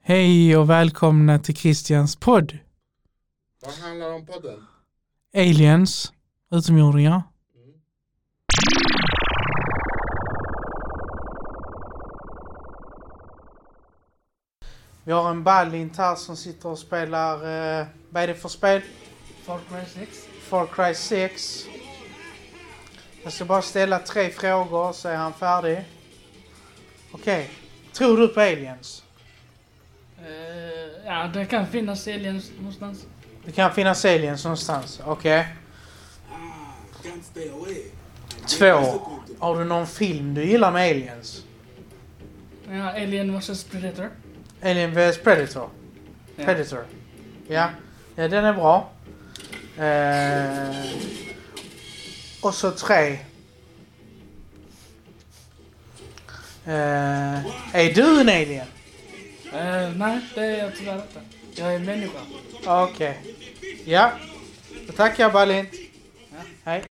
Hej och välkomna till Christians podd. Vad handlar om podden? Aliens, utomjordingar. Mm. Vi har en ballint här som sitter och spelar, eh, vad är det för spel? Far Cry 6. Far Cry 6. Jag ska bara ställa tre frågor så är han färdig. Okej, tror du på aliens? Eh, ja, det kan finnas aliens någonstans. Det kan finnas aliens någonstans, okej. Can't stay away. Två. Har du någon film du gillar med aliens? Ja, Alien vs Predator. Alien vs Predator? Ja. Predator. Ja. ja, den är bra. Eh, och så tre. Eh, är du en alien? Eh, nej, det är jag tyvärr inte. Jag är människa. Okej. Ja. Då tackar jag Balint. Ja. Hej.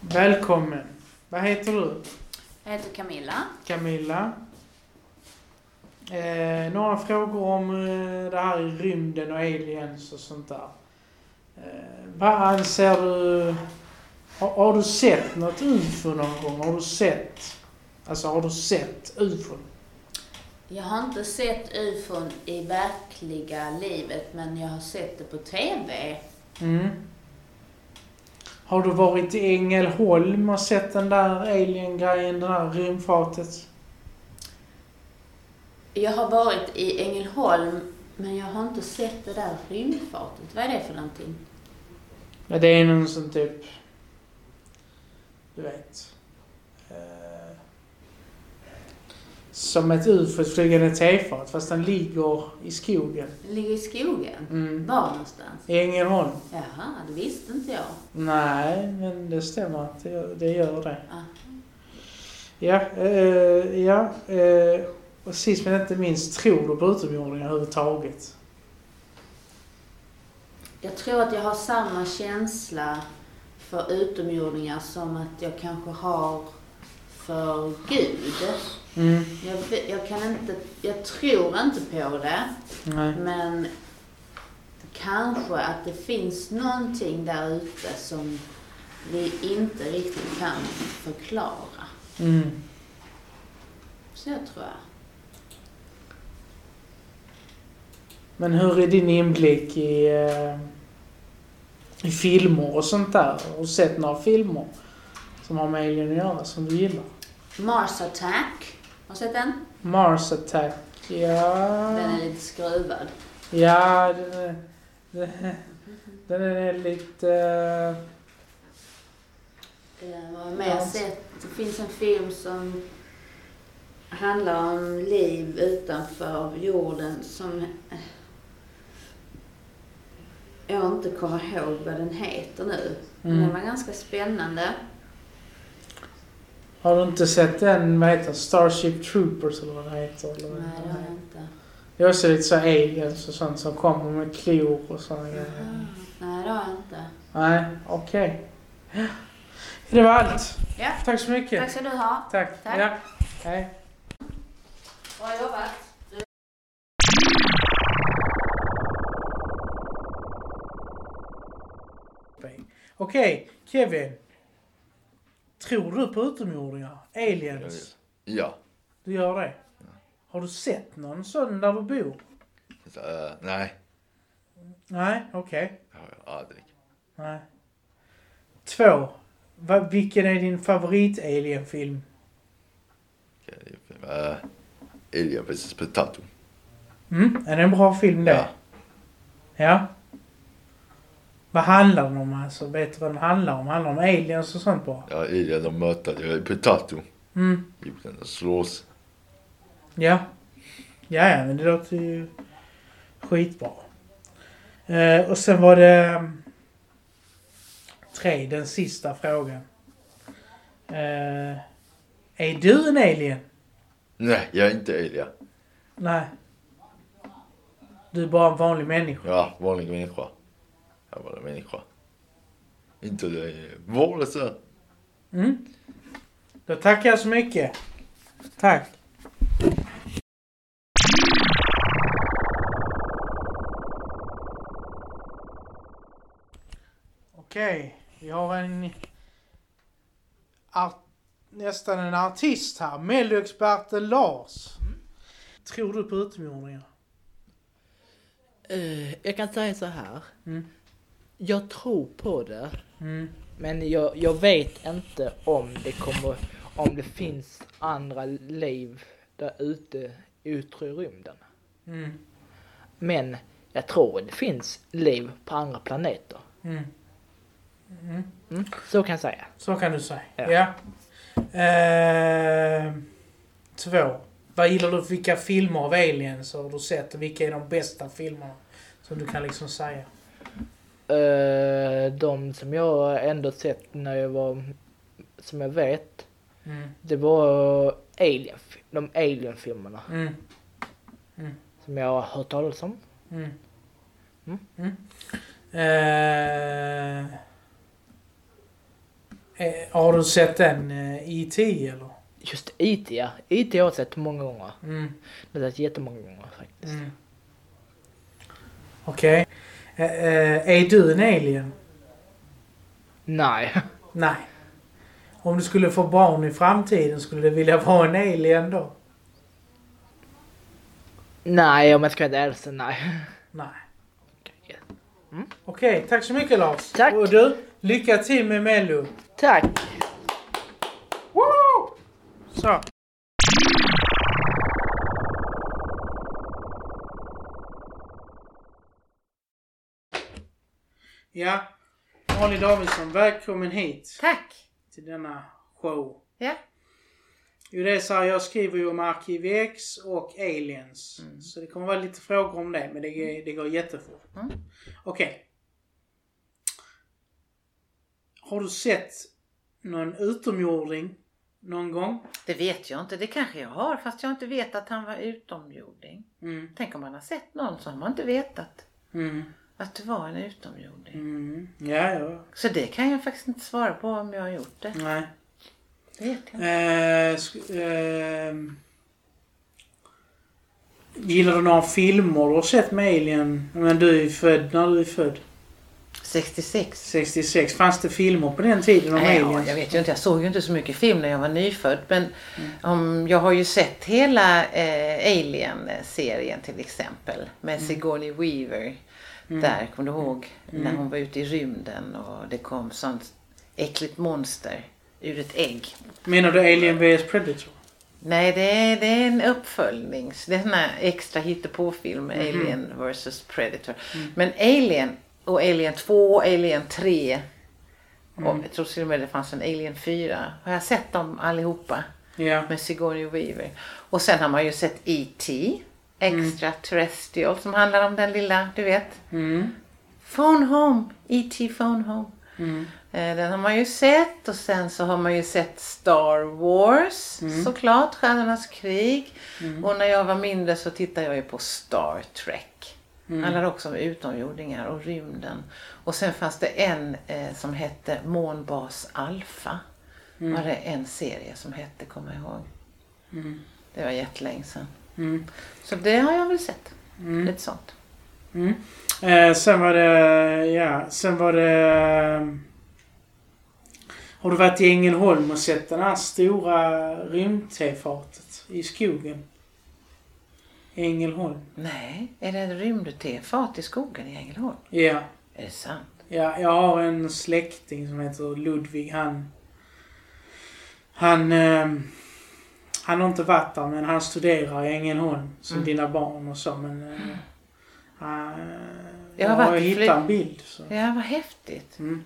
Välkommen. Vad heter du? Jag heter Camilla. Camilla. Eh, några frågor om eh, det här i rymden och aliens och sånt där. Eh, vad anser du... Har, har du sett något ufo någon gång? Har du sett... Alltså har du sett ufo? Jag har inte sett ufon i verkliga livet, men jag har sett det på TV. Mm. Har du varit i Ängelholm och sett den där alien-grejen, det där rymdfartet? Jag har varit i Ängelholm, men jag har inte sett det där rymdfartet. Vad är det för någonting? Ja, det är någon som typ... Du vet. Eh, som ett ufo, ett flygande tefat, fast den ligger i skogen. Det ligger i skogen. Mm. Var någonstans? I Ängelholm? Jaha, det visste inte jag. Nej, men det stämmer att det gör det. Gör det. Ah. Ja, eh, ja. Eh, och sist men inte minst, tror du på utomjordingar överhuvudtaget? Jag tror att jag har samma känsla för utomjordingar som att jag kanske har för Gud. Mm. Jag, vet- jag kan inte, jag tror inte på det. Nej. Men kanske att det finns någonting där ute som vi inte riktigt kan förklara. Mm. Så jag tror jag. Men hur är din inblick i, eh, i filmer och sånt där? Har du sett några filmer som har med Alien att göra, som du gillar? Mars Attack. Har du sett den? Mars Attack, ja... Den är lite skruvad. Ja, den är... den- Den är lite... eh, Eh, Vad har jag mer Ja. sett? Det finns en film som handlar om liv utanför jorden som eh, jag inte kommer ihåg vad den heter nu. Men Mm. Den var ganska spännande. Har du inte sett den, vad heter den? Starship Troopers eller vad den heter? Eller Nej, vad den det har heter. jag inte. Det är också lite så aliens och sånt som kommer med klor och sådana grejer. Nej, det har jag inte. Nej, okej. Det var allt. Ja. Tack så mycket. Tack ska du ha. Tack. Tack. Ja. Hej. Bra jobbat. Okej, Kevin. Tror du på utomjordingar? Aliens? Ja. Du gör det? Har du sett någon sån där du bor? Så, eh, nej, Nej, okej. det har jag aldrig. Nej. Två. Va, vilken är din favorit-alienfilm? Okej, det är, eh, Alien vs Potato. Mm, är det en bra film det? Ja. Ja. Vad handlar den om alltså? Vet du vad den handlar om? Handlar den om aliens och sånt bara? Ja, Alien de möter Potato. Mm, Jorden och slås. ja. Ja, ja, men det låter ju skitbra. Eh, och sen var det... mm, Tre, den sista frågan. Eh, är du en alien? Nej, jag är inte Alien. Nej. Du är bara en vanlig människa. Ja, vanlig människa. Jag är bara en människa. Inte det målet så. Mm. Då tackar jag så mycket. Tack. Okej, vi har en... Art, nästan en artist här. Melloexperten Lars. Tror du på utomjordingar? Eh, jag kan säga så här. Mm. Jag tror på det. Mm. Men jag, jag vet inte om det kommer, om det finns andra liv där ute i yttre rymden. Mm. Men jag tror det finns liv på andra planeter. Mm. Mm, så kan jag säga. Så kan du säga. Ja. Ja. Ehm, två. Vad gillar du? Vilka filmer av aliens har du sett? och Vilka är de bästa filmerna? Som du kan liksom säga. Eh, de som jag ändå sett när jag var, som jag vet, Mm. det var alien, de alien-filmerna Mm. som jag har hört talas om. Mm. Mm. Mm. Ehm, eh, har du sett den eh, E.T. eller? Just IT ja, IT har jag sett många gånger. Mm. Det har jag sett jättemånga gånger faktiskt. Mm. Okej. Eh, eh, är du en alien? Nej. Nej. Om du skulle få barn i framtiden, skulle du vilja vara en alien då? Nej, om jag ska vara ärlig så nej. Nej. Okej. Okej, tack så mycket Lars. Tack. Och du, lycka till med Mello. Tack! Så. Ja, Molly Davidsson, välkommen hit Tack! till denna show. Ja. Jo, det är så här, jag skriver ju om ArkivX och aliens. Så det kommer vara lite frågor om det, men det, går- det går jättefort. Mm. Okej. Har du sett någon utomjording någon gång? Det vet jag inte. Det kanske jag har fast jag har inte vetat att han var utomjording. Mm. Tänk om man har sett någon som man inte vetat Mm. att det var en utomjording. Mm. Ja, ja. Så det kan jag faktiskt inte svara på om jag har gjort det. Nej. Det vet jag inte. Eh, sk- ehm. gillar du några filmer du har sett med Alien? Men du är ju född när du är född. 66. 66. Fanns det filmer på den tiden om Nej, ja, aliens? jag vet Mm. ju inte. Jag såg ju inte så mycket film när jag var nyfödd. Men om, jag har ju sett hela eh, Alien-serien till exempel. Med Sigourney Weaver. Där, kommer du ihåg? När hon var ute i rymden och det kom sånt äckligt monster ur ett ägg. Menar du Alien vs Predator? Nej, det är, det är en uppföljning. Så Det är en sån här extra hittepåfilm, Alien vs Predator. Men Alien och Alien 2 och Alien 3 och jag tror till och med det fanns en Alien 4. Har jag sett dem allihopa Ja. med Sigourney Weaver. Och sen har man ju sett E.T. Extraterrestrial som handlar om den lilla, du vet. Mm. Phone Home, E.T. Phone Home. Mm. Eh, Den har man ju sett och sen så har man ju sett Star Wars Mm. såklart, Stjärnornas krig. Och när jag var mindre så tittade jag ju på Star Trek. Mm. Handlar också om utomjordingar och rymden. Och sen fanns det en eh, som hette Månbas Alpha. Mm. Var det en serie som hette, kommer jag ihåg. Det var jättelänge sedan. Mm. Så det har jag väl sett. Lite sånt. Eh, sen var det... Ja, sen var det... ehm, Har du varit i Ängelholm och sett det här stora rymdtefatet i skogen? Ängelholm. Nej, är det ett rymdtefat i skogen i Ängelholm? Ja. Är det sant? Ja, jag har en släkting som heter Ludvig. Han... Han... ehm, han har inte varit där, men han studerar i Ängelholm som Mm. dina barn och så, men... eh, han- Jag jag har har varit i hittat Fly- en bild. Så. Ja, vad häftigt. Mm.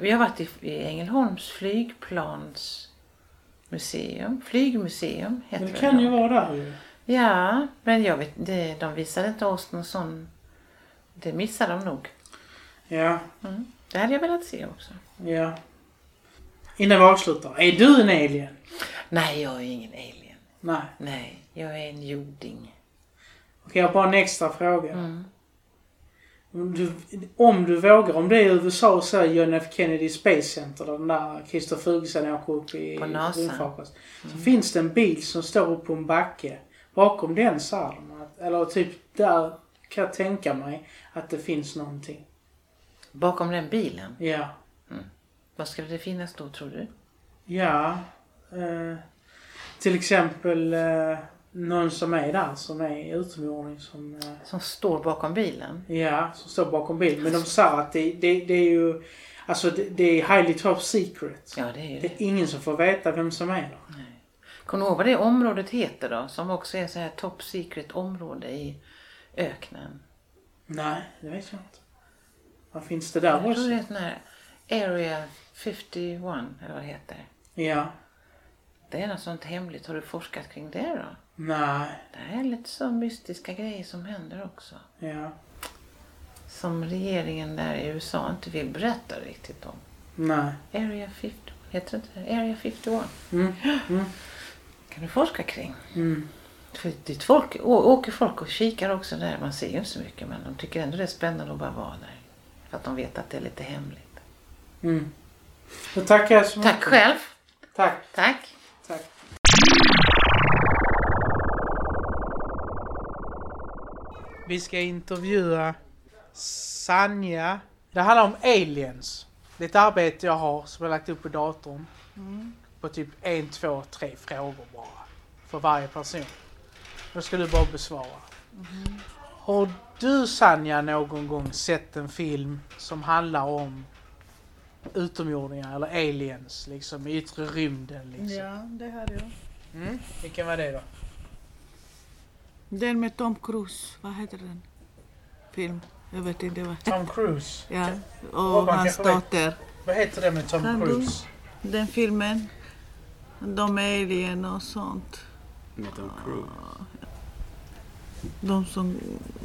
Vi har varit i- i Ängelholms flygplansmuseum. Flygmuseum heter Men det kan nog. ju vara där ju. Ja, men jag vet, det, de visade inte oss någon sån. Det missade de nog. Ja, Det hade jag velat se också. ja. Innan vi avslutar. Är du en alien? Nej, jag är ingen alien. Nej. Nej, jag är en jording. Mm. Okej, jag har bara en extra fråga. Om du, om du vågar, om det är i USA så är John F Kennedy Space Center där den där Christer Fuglesang åker upp i På NASA. Mm. rymdfarkost. Så finns det en bil som står upp på en backe. Bakom den så är de att, eller typ där kan jag tänka mig att det finns någonting. Bakom den bilen. Ja. Vad skulle det finnas då tror du? Ja. Eh, till exempel eh, någon som är där som är utomjording som eh, Som står bakom bilen? Ja, som står bakom bild. Men de sa att det, det, det är ju... Alltså det, det är highly top secret. Ja, det är ju Det det. är ingen som får veta vem som är där. Kommer du ihåg vad det området heter då? Som också är så här top secret område i öknen. Nej, det vet jag inte. Vad finns det där Jag tror det också? är sån här Area 51 eller vad det heter. Ja. Det är något sånt hemligt. Har du forskat kring det då? Nej. Det här är lite så mystiska grejer som händer också. Ja. Som regeringen där i USA inte vill berätta riktigt om. Nej. Area 51, heter det inte det? Area 51. Mm, mm. kan du forska kring. Mm. För dit folk, å- åker folk och kikar också där. Man ser ju inte så mycket men de tycker ändå det är spännande att bara vara där. För att de vet att det är lite hemligt. Mm. Då tackar jag Mm. så mycket. Tack själv. Tack. Tack. Tack. Vi ska intervjua Sanja. Det handlar om aliens. Det är ett arbete jag har som jag lagt upp på datorn. På typ en, två, tre frågor bara. För varje person. Då ska du bara besvara. Mm-hmm. Har du Sanja någon gång sett en film som handlar om utomjordingar eller aliens liksom i yttre rymden liksom? Ja, det hade jag. Mm. Vilken var det då? Den med Tom Cruise, vad heter den? Film, jag vet inte vad. Tom Cruise. Ja, Robban och kan hans få med. dotter. Vad heter det med Tom Kan du? Cruise? Den filmen, de är alien och sånt. Med Tom Cruise. De som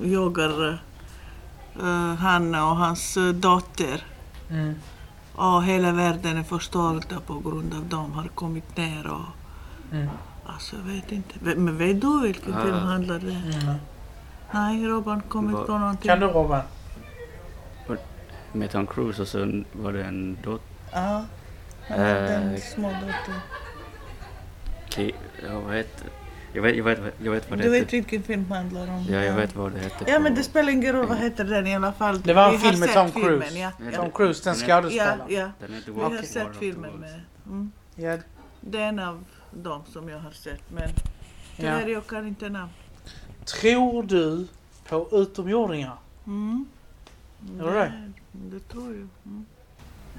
jagar eh, Hanna och hans eh, dotter. Mm. Och hela världen är förstörd på grund av de har kommit ner och... Mm. Alltså jag vet inte. Ve- Men vet du vilken Ah. film handlar det? Nej, Robban kommer Vad- inte på någonting. mm. Kan du Robban? med Tom Cruise och så var det en dot... Ja, han hade en Eh, smådotter. Ki- Jag vet, jag vet, jag vet, jag vet vad det Du vet heter. vilken film handlar om. Ja, jag vet vad det heter. Ja, på- men det spelar ingen roll vad heter den i alla fall. Det var en Vi har film med sett Tom filmen, Cruise. Ja, Nej, ja, Tom Cruise, den Nej. ja, skådespelaren. ja. Den heter Vi Walk har the sett World filmen Towards. med. Mm. Ja. Det är en av dem som jag har sett. Men Ja. tyvärr, jag kan inte namn. Tror du på utomjordingar? Mm. Gör du det? Det tror jag. Mm.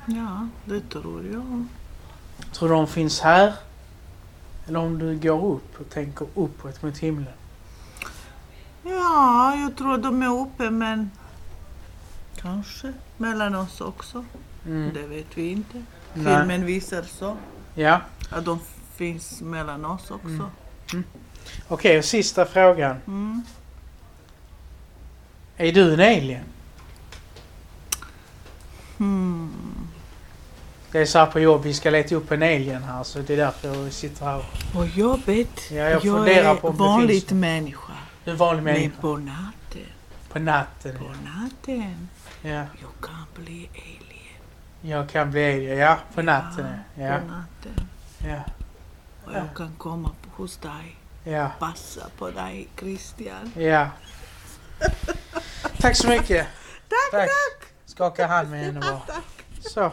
Ja, det tror jag. Tror du de finns här? Eller om du går upp och tänker uppåt mot himlen? Ja, jag tror de är uppe, men kanske mellan oss också. Mm. Det vet vi inte. Nej. Filmen visar så. Ja. Att de finns mellan oss också. Okej, och sista frågan. Mm. Är du en alien? Mm. Hmm. Det är så här på jobb, vi ska leta upp en alien här så det är därför jag sitter här. På jobbet, Ja, jag funderar är på om det vanligt finns- människa. Du är en vanlig Men människa. på natten, På natten. på natten, Ja. jag kan bli alien. Jag kan bli alien. Ja, på natten. Ja, Ja. På natten. Ja. Och Ja. jag kan komma på- hos dig, Ja. passa på dig Christian. Ja. Tack så mycket. Tack, tack. Skaka hand med henne bara. Så.